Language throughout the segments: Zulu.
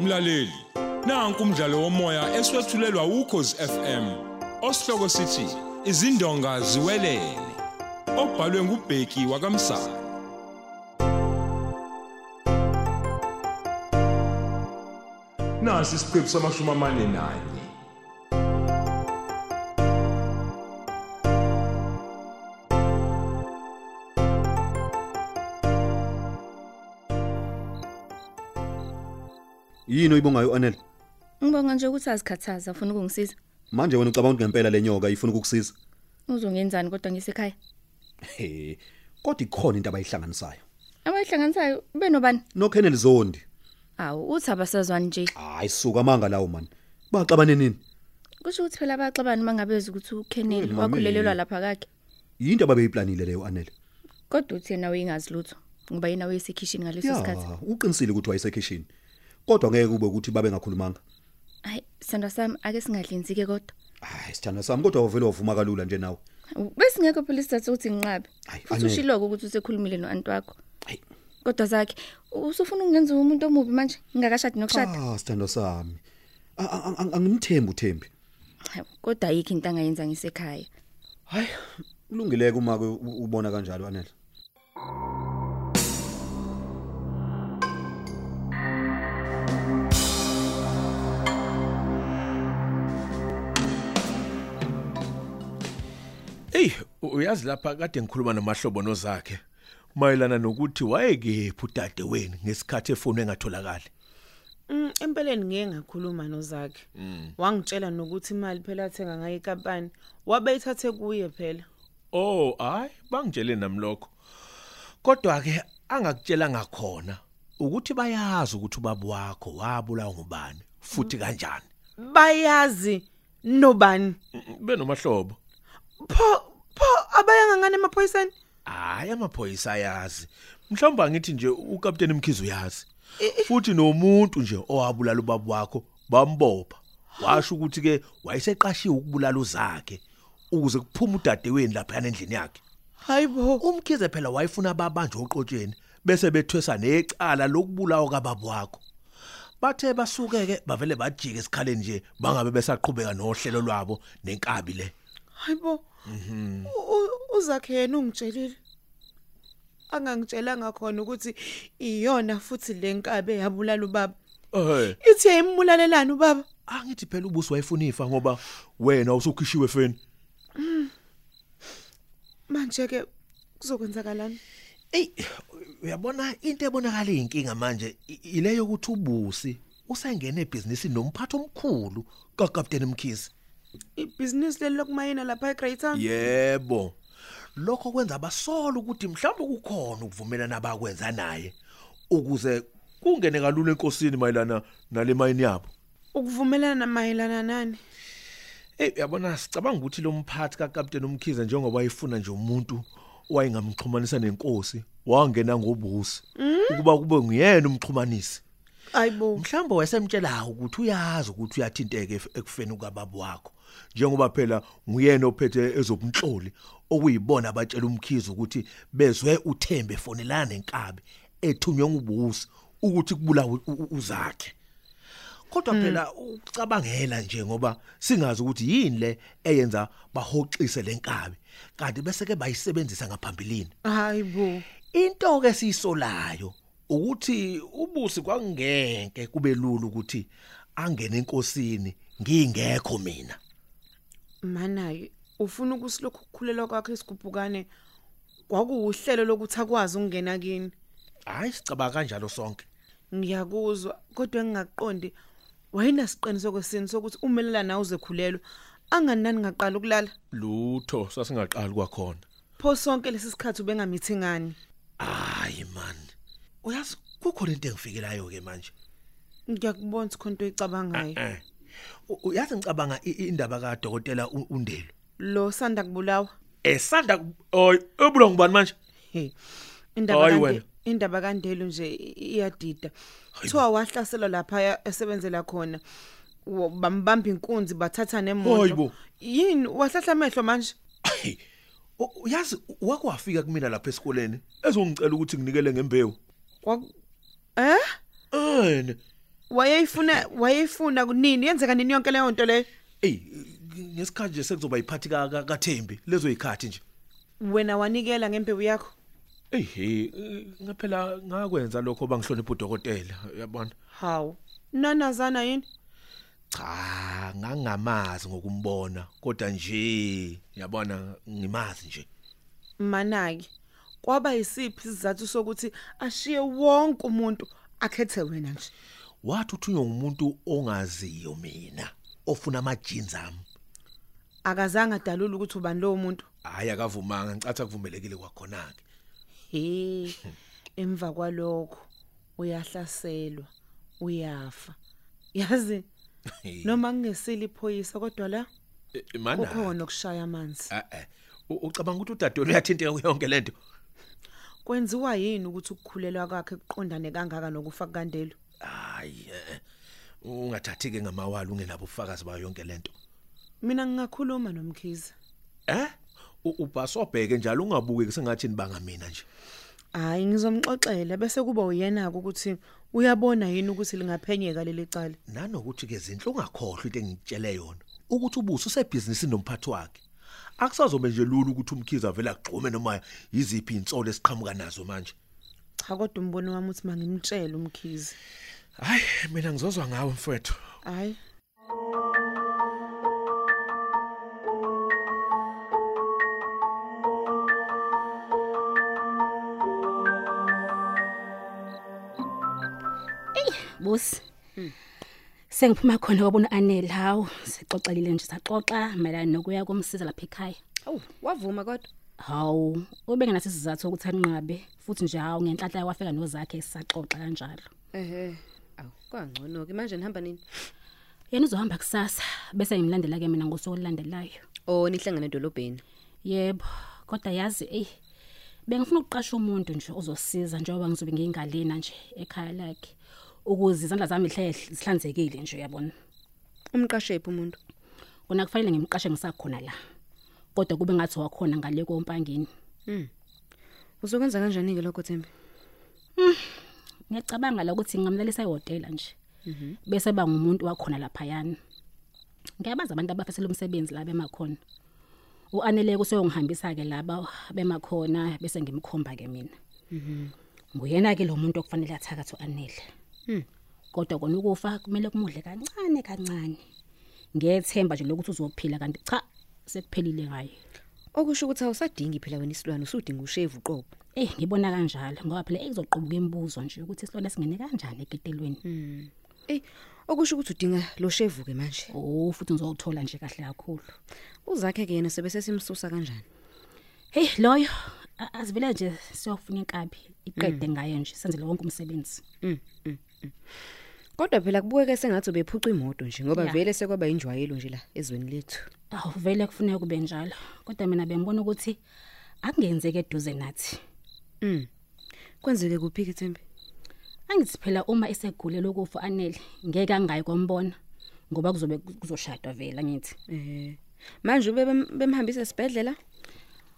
mlaleli nanku umdlalo womoya eswetshulelwa ukhozi FM osihloko sithi izindonga ziwelele obhalwe ngubheki wakamsana nasi isiqephu samashumi amane nanye yini oyibongayo anele Ngibonga nje ukuthi azikhathaza ufuna ukungisiza. manje wena ucabanga ukuthi ngempela le nyoka ifuna ukukusiza Uzongenzani kodwa ngisekhaya? he kodwa ikhona into abayihlanganisayo Abayihlanganisayo benobani? noKenneth Zondi Awu uthi abasazwani nje. hayi suka manga lawo man baxabane nini Kusho ukuthi phela baxabana mangabezu ukuthi uKenneth Mami. wakhulelelwa lapha kakhe. yinto ababeyiplanile leyo anele Kodwa uthi yena uyingazi lutho. Ngoba yena wayesekhishini ngaleso sikhathi. uqinisile ukuthi wayesekhishini kodwa ngeke kube ukuthi babe ngakhulumanga Hayi, sandwa sami ake singadlinzike kodwa. hayi sithanda sami kodwa wavele wavuma kalula nje nawe Bese ngeke phela isizathu ukuthi nginqabe. Hayi, Futhi Anele. ushilo ukuthi usekhulumile noanti wakho. hayi Kodwa zakhe usufuna ukungenza umuntu omubi manje ngingakashadi nokushada. ah sithanda sami A- a- a- angimthembi uThembi Ah. Hayi, Kodwa yikho into angayenza ngisekhaya. hayi kulungileke uma ke u- ubona kanjalo anele Ey, u- uyazi lapha kade ngikhuluma nomahlobo nozakhe mayelana nokuthi wayekephi udade wenu ngesikhathi efonwe engatholakali. Mm, empeleni ngeke ngakhuluma nozakhe. Wangitshela nokuthi imali phela athenga ngayo inkampani, wabeyithathe kuye phela. Oh, hayi, bangitshele nami lokho. Kodwa ke angakutshela ngakhona ukuthi bayazi ukuthi ubaba wakho wabulawa ngubani futhi kanjani. Bayazi nobani? Mm, Benomahlobo. Pho pho abayanga ngane emaphoyiseni? Hayi amaphoyisa ayazi. Mhlawumbe angithi nje uCaptain Mkhize uyazi. Futhi nomuntu nje owabulala ubaba wakho bambopha. Washo ukuthi ke wayeseqashiwe ukubulala uzakhe ukuze kuphume udadeweni lapha endlini yakhe. Hayibo. Umkhize phela wayefuna babanje oqotsheni bese bethwesa necala lokubulawa kababa wakho. Bathe basukeke bavele bajika esikhaleni nje bangabe besaqhubeka nohlelo lwabo nenkabi le. Hayibo. U- u- Uzakhe yena ungitshelile. Angangitshelanga khona ukuthi iyona futhi lenkabe yabulala ubaba. Eh Ithi yayimbulalelana ubaba. angithi phela ubuso wayefuna ifa ngoba wena usukhishiwe feni Manje ke kuzokwenzakalani? ey uyabona into ebonakala iyinkinga manje i- ileyo ukuthi ubusi usengene ebhizinisini nomphathi omkhulu kakapteni mkhizi Ibhizinisi lelo lokumayina lapha eGreat Town. yebo lokho kwenza abasola ukuthi mhlawumbe kukhona ukuvumelana abakwenza naye ukuze kungene kalula enkosini mayelana nale mayini yabo ukuvumelana mayelana nani Ey yabona sicabanga ukuthi lo mphathi kaCaptain uMkhize njengoba wayefuna nje umuntu wayengamxhumanisa nenkosi wangena ngobusi ukuba kube nguyena umxhumanisi ayibo mhlawumbe wayesemtshela ukuthi uyazi ukuthi uyathinteke ef- ekufeni ukababa wakho njengoba phela nguyena ophethe ezobunhloli okuyibona abatshela uMkhize ukuthi bezwe uthembe fonelana nenkabi ethunywe ngubusi ukuthi kubulawe u- u- uzakhe kodwa phela ucabangela nje ngoba singazi ukuthi yini le eyenza bahoxise lenkabi kanti bese ke bayisebenzisa ngaphambilini ayibo into ke siyisolayo ukuthi ubusi kwangeke kube lulu ukuthi angene enkosini ngingekho mina manayi ufuna ukusilokhu ukukhulelwa kwakhe isigubhukane kwakuwuhlelo lokuthi akwazi ukungena kini hayi sicaba kanjalo sonke ngiyakuzwa kodwa engingaqondi wayenasiqiniseko kwesini sokuthi umelela nawe uzekhulelwa anganani ngaqala ukulala lutho sasingaqali kwakhona pho sonke lesi sikhathi ubengamithe ngani hayi man uyazi kukhona into engifikelayo ke manje ngiyakubona ukuthi khonto oyicabangayo eh U- uyazi ngicabanga i- i- indaba kaDokotela U- uNdelo lo sanda kubulawa esanda oy ebula ngubani manje He. Hayi Indaba wena. kanje indaba kandelo nje i- iyadida. Kuthiwa wahlaselwa lapha esebenzela khona. Wo- Bambamba inkunzi bathatha Hayi bo. nemoto. Yini wahlahla amehlo manje? Hey, u- uyazi wake wafika kumina lapha esikoleni ezongicela ukuthi nginikele ngembewu Kwa Eh? ene wayeyifuna wayeyifuna kunini yenzeka nini yonke leyo nto leyo eyi ngesikhathi nje sekuzoba yiphathi ka- ka- kathembi lezo yikhathi nje wena wanikela ngembewu yakho eyi ngaphela ngakwenza lokho bangihlonipha udokotela yabona hawu nanazana yini cha ngangamazi ngokumbona kodwa nje yabona ngimazi nje manaki kwaba yisiphi isizathu sokuthi ashiye wonke umuntu akhethe wena nje wathi uthunywa ngumuntu ongaziyo mina ofuna ama-jeans ami akazange adalule ukuthi ubani lowo muntu hhayi akavumanga ngicatha kuvumelekile kwakhona-ke he emva kwalokho uyahlaselwa uyafa yazi noma kungesile iphoyisa kodwa la Eh, mana kukhona ukushaya amanzi e-e U- ucabanga ukuthi udadewenu uyathinteka kuyonke le nto kwenziwa yini ukuthi ukukhulelwa kwakhe kuqondane kangaka nokufa kukandelo hhayi e-e eh, ungathathi-ke ngamawali ungenabo ubufakazi bayo yonke le nto mina ngingakhuluma nomkhize um ubhasobheke njalo ungabukeki sengathi nibanga mina nje hhayi ngizomxoxela bese kuba uyena-ke ukuthi uyabona yini ukuthi lingaphenyeka leli cala nanokuthi-ke zinhle ungakhohlwa into engitshele yona ukuthi ubuso usebhizinisini nomphathi wakhe akusazobe nje lula ukuthi umkhize avele agxume noma yiziphi iy'nsolo esiqhamuka nazo manje cha kodwa umbono wami uthi mangimtshele umkhize hhayi mina ngizozwa ngawe mfowethu hhayi bosi Hmm. sengiphuma khona kwabona anele hawu sixoxelile nje saxoxa mayelana nokuya komsiza lapha ekhaya Awu, wavuma kodwa. hawu ubengenaso isizathu sokuthi anqabe futhi nje hawu ngenhlanhla wafika nozakhe sisaxoxa kanjalo Ehhe. Awu, kwangcono ke manje nihamba nini? yena uzohamba kusasa bese ngimlandela-ke mina ngosuku olulandelayo Oh, nihlangana edolobheni. yebo kodwa yazi eyi bengifuna ukuqasha umuntu nje ozosiza njengoba ngizobe ngiyingalena nje ekhaya lakhe ukuze izandla zami zihlale zihlanzekile nje uyabona Umqashephi umuntu? kona kufanele ngimqashe ngisakhona la kodwa kube ngathi wakhona ngale kompangeni Hmm. Uzokwenza kanjani ke lokho Thembi? Hmm, ngiyacabanga la ukuthi ngingamlalisa ehhotela nje Mhm. bese ba ngumuntu wakhona laphayana ngiyabaza abantu abafisela umsebenzi laba emakhona uaneleke useyongihambisa-ke laba bemakhona bese ngimkhomba-ke mina Mhm. nguyena-ke lo muntu okufanele athakathi u-anele Hmm. kodwa kona ukufa kumele kumudle kancane kancane ngethemba nje lokuthi uzophila kanti cha sekuphelile ngaye Okusho ukuthi awusadingi phela wena isilwane, usudinga ushevu uqobo. Eh ngibona kanjalo ngoba phela izoqhubuka imibuzo nje ukuthi isilwane singene kanjani eketelweni. Ey, Hmm. Eh, okusho ukuthi udinga lo shevu ke manje. Oh futhi ngizothola nje kahle kakhulu. Uzakhe ke yena sebese simsusa kanjani? Hey loyo a- asivele nje siyofuna inkabi iqede ngayo nje senze lo wonke umsebenzi. Kodwa phela kubukeke sengathi ubephuca imoto nje ngoba Ya. vele sekwaba injwayelo nje la ezweni lethu. Awu vele kufanele kube njalo. Kodwa mina bengibona ukuthi akungenzeki eduze nathi. Kwenzeke kuphi ke Thembi? Angithi phela uma esegule lokufa anele ngeke angayi kombona ngoba kuzobe kuzoshadwa vele ngithi. Eh. Manje ube bem- bemhambisa esibhedlela?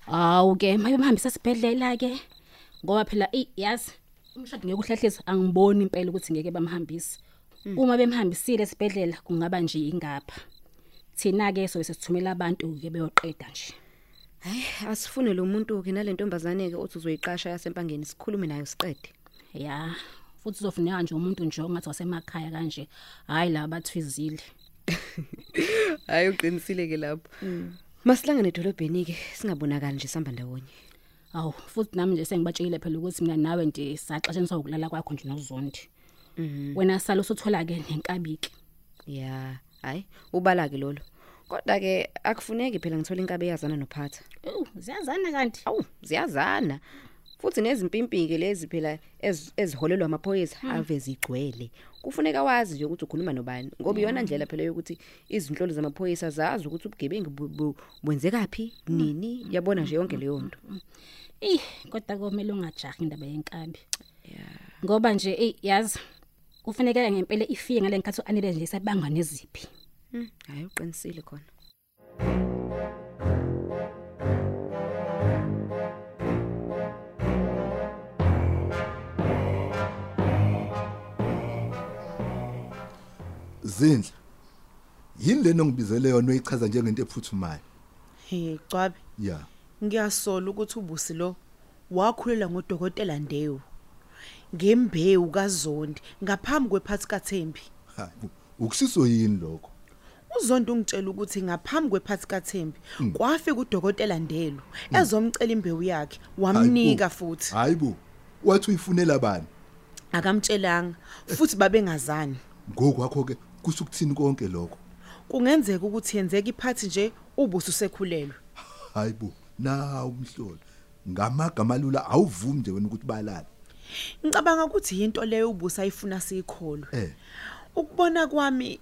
Hawu ke maye bahambisa sibhedlela ke ngoba phela eyi, yazi umshado ngeke uhlehlisa angiboni impela ukuthi ngeke bamhambise. Uma bemhambisile sibhedlela kungaba nje ingapha. Thina ke sobe sesithumela abantu ke beyoqeda nje. Hayi, asifune lo muntu ke nalentombazane ke othi uzoyiqasha yasempangeni sikhulume nayo siqede. Ya, futhi uzofuneka nje umuntu nje ongathi wasemakhaya kanje. Hayi la bathwizile. Hayi uqinisile ke lapho. Masilangane edolobheni ke Mm. singabonakali nje sihamba ndawonye. Awu futhi nami nje sengibatshele phela ukuthi mina nawe nje saxasheniswa ukulala kwakho nje nozondi. Wena sala usuthola ke nenkabiki. Ya, hayi ubala ke lolo. Kodwa ke akufuneki phela ngithole inkabe yazana nophatha. Ewu, ziyazana kanti. Awu, ziyazana. Futhi nezimpimpike lezi phela ez- eziholelwa amaphoyisa ave zigcwele. Kufuneka wazi nje ukuthi ukhuluma nobani ngoba iyona ndlela phela yokuthi izinhlolo zamaphoyisa zazi ukuthi ubugebengu bu- bu- bwenzekaphi nini yabona nje yonke leyo nto. Eh kodwa komele ungajahi indaba yenkambi. Ngoba nje eh yazi kufanele ngempela ifike ngalenkathi uanele nje isabanga neziphi. Mm, hayi uqinisile khona. zindla yini leno ngibizele yona uyichaza njengento ephuthumayo Hey Cwabi, ya ngiyasola ukuthi ubusi lo wakhulela ngodokotela Ndewu. Ngembewu kaZondi ngaphambi kwephathi kaThembi. ha, u- ukusiso yini lokho uzondo ungitshela ukuthi ngaphambi kwephathi kaThembi kwafika udokotela Ndelo ezomcela imbewu yakhe wamnika futhi hayibo wathi uyifunela bani akamtshelanga futhi babengazani ngokwakho ke kusukuthini konke lokho kungenzeka ukuthi yenzeka iphathi nje ubuso sekhulelwe hayibo na umhlolo ngamagama lula awuvumi nje wena ukuthi balala ngicabanga ukuthi yinto leyo ubuso ayifuna sikholwe eh ukubona kwami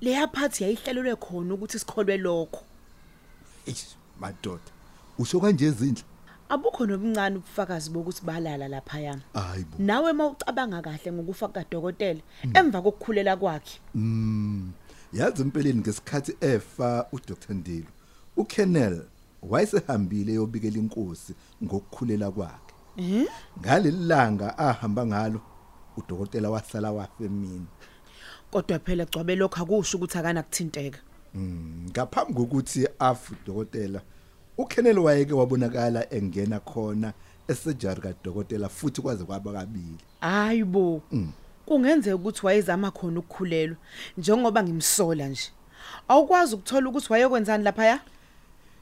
leya phathi yayihlelelwe khona ukuthi sikholwe lokho eish, madoda usho kanje izindla abukho nobuncane ubufakazi bokuthi balala lapha yami hayibo nawe mawucabanga kahle ngokufa kukadokotela emva kokukhulela kwakhe Mm. Yazi impeleni ngesikhathi efa uDr Ndilo, uKennel wayesehambile yobikela inkosi ngokukhulela kwakhe. Mhm. Ngalelanga ahamba ngalo udokotela wasala wafe mina. kodwa phela gcwabe lokho akusho ukuthi akana kuthinteka Mm, Ngaphambi kokuthi afu udokotela, uKennel wayeke wabonakala engena khona esejari kaDokotela futhi kwaze kwaba kabili. hayi bo kungenzeka ukuthi wayezama khona ukukhulelwa njengoba ngimsola nje awukwazi ukuthola ukuthi wayekwenzani laphaya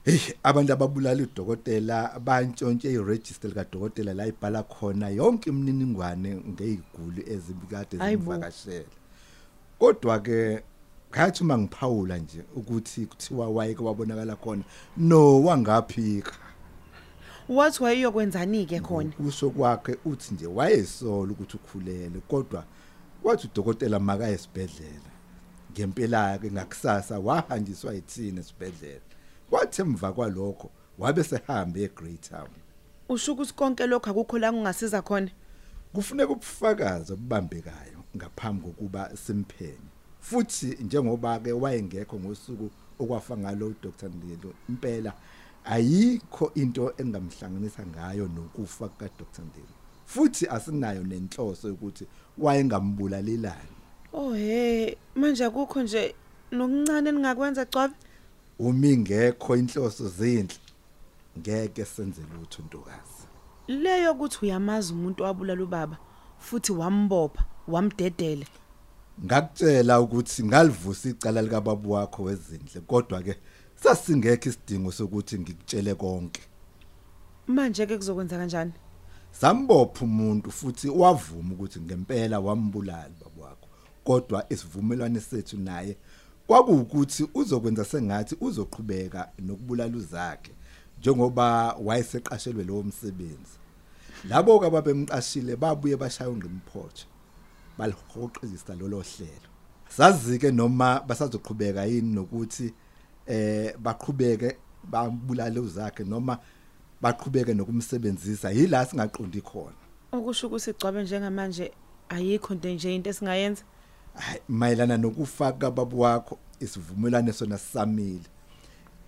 Hey abantu ababulala udokotela bantshontshe iregister lika dokotela la ibhala khona yonke imininingwane ngeziguli ezibikade Hayibo. zimvakashela. Kodwa ke ngathi uma ngiphawula nje ukuthi kuthiwa wayeke wabonakala khona no wangaphika. wathi Hmm. wayeyokwenzani-ke khona Uso kwakhe uthi nje wayesola ukuthi ukhulele kodwa wathi udokotela makaye esibhedlela. Ngempela ke ngakusasa wahanjiswa yithini esibhedlela. Kwathi emva kwalokho wabe sehambe eGreatown. usho ukuthi konke lokho akukho la kungasiza khona kufuneka ubufakazi obubambekayo ngaphambi kokuba simphenye futhi njengoba ke wayengekho ngosuku okwafa ngalo uDr Ndilo impela ayikho into engamhlanganisa ngayo nokufa kaDr Ndilo futhi asinayo nenhloso ukuthi wayengambulalelani ohe Oh, manje akukho nje nokuncane ningakwenza gcwabe uma ingekho inhloso zinhle ngeke senze lutho ntokazi leyo ukuthi uyamazi umuntu wabulala ubaba futhi wambopha wamdedele ngakutshela ukuthi ngalivusa icala lika babu wakho wezindle kodwa ke sasingekho isidingo sokuthi ngikutshele konke manje-ke kuzokwenza kanjani sambopha umuntu futhi wavuma ukuthi ngempela wambulali babu wakho kodwa isivumelwano sethu naye kwakuwukuthi uzokwenza sengathi uzoqhubeka nokubulala uzakhe njengoba wayeseqashelwe lowo msebenzi labo ke ababemqashile babuye bashaya ungqimphotho balihoqisa lolo hlelo sazike noma basazoqhubeka yini nokuthi eh baqhubeke babulale uzakhe noma baqhubeke nokumsebenzisa yila singaqondi khona okusho ukuthi igcwabe njengamanje ayikho nto nje into esingayenza Hayi, mayelana nokufaka babu wakho isivumelwane sona sisamile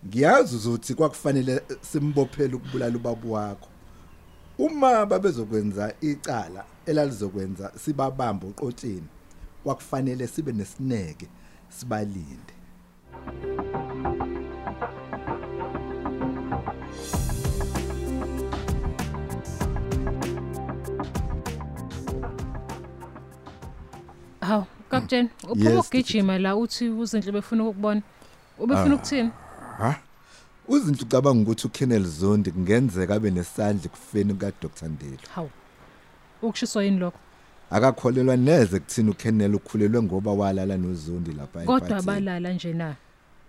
ngiyazi ukuthi kwakufanele eh, simbophele ukubulala ubabu wakho uma babezokwenza icala elalizokwenza sibabamba uqotsheni kwakufanele sibe nesineke sibalinde Haw, Captain, uphuma Yes, ukugijima la uthi uzinhle befuna ukubona. Ubefuna ukuthini? ha uzinto ucabanga ukuthi uKenneth Zondi kungenzeka abe nesandla kufeni kaDr Ndilo Haw. Ukushiswa yini lokho? akakholelwa neze kuthini uKenneth ukhulelwe ngoba walala noZondi lapha Kodwa ephathini. abalala nje na.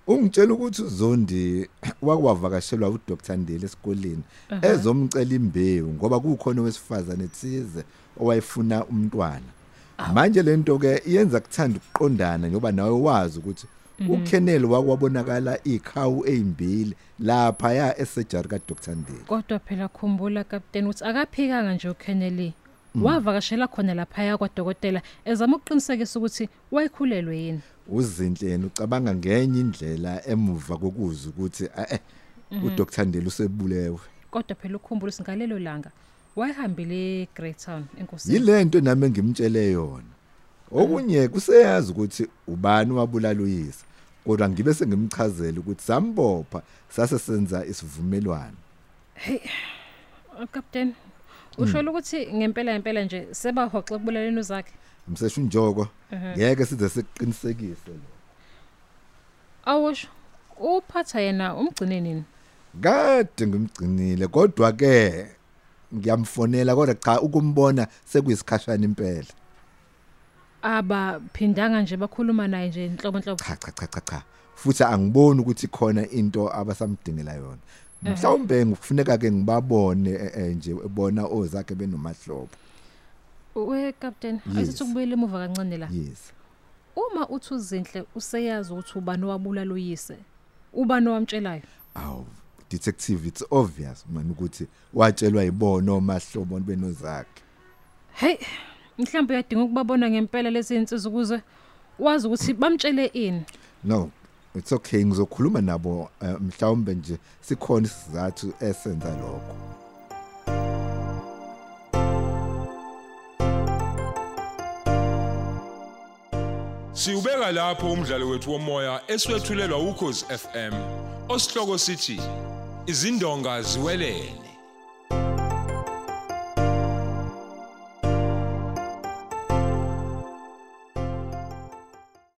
ungitshela ukuthi uZondi wakwavakashelwa uDr Ndile esikoleni ezomcela imbewu ngoba kukhona wesifazane thize owayefuna umntwana manje lento ke iyenza kuthanda ukuqondana ngoba nawe wazi ukuthi uKennel wakwabonakala ikhawu ezimbili lapha ya esejari kaDr Ndile Kodwa phela khumbula Captain uthi akaphikanga nje uKennedy. Wavakashela khona lapha ya kwadokotela ezama ukuqinisekisa ukuthi wayekhulelwe yini. uzinhle yena ucabanga ngenye indlela emuva kokuza ukuthi eh uDr Ndile usebulewe Kodwa phela ukhumbula singalelo langa wayehambile eGreytown enkosini. yilento nami engimtshele yona okunye kuseyazi ukuthi ubani wabulala uyise kodwa ngibe sengimchazela ukuthi sambopha sase senza isivumelwano Oh, Captain, usho ukuthi ngempela ngempela nje sebahoxa kubulaleni uzakhe. umseshu njoko ngeke size siqinisekise lo Awusho uphatha yena umgcine nini? kade ngimgcinile kodwa ke ngiyamfonela kodwa cha ukumbona sekuyisikhashana impela Abaphindanga nje bakhuluma naye nje inhlobo inhlobo. cha cha cha cha cha futhi angiboni ukuthi khona into abasamdingela yona mhlawumbe ngikufuneka ke ngibabone eh, eh, nje ebona ozakhe benomahlobo We Captain, Yes. asithi kubuyele emuva kancane la. yes Uma uthi uzinhle useyazi ukuthi ubani wabulala uyise. Ubani owamtshelayo? aw detective it's obvious man ukuthi watshelwa yibona omahlobo benozakhe Hey, mhlawumbe uyadinga ukubabona ngempela lezi insizwa ukuze wazi ukuthi bamtshele ini. no it's okay ngizokhuluma nabo eh, mhlawumbe nje sikhona isizathu esenza lokho Siubeka lapho umdlalo wethu womoya eswetshulelwa ukhozi FM. Osihloko sithi izindonga ziwelele.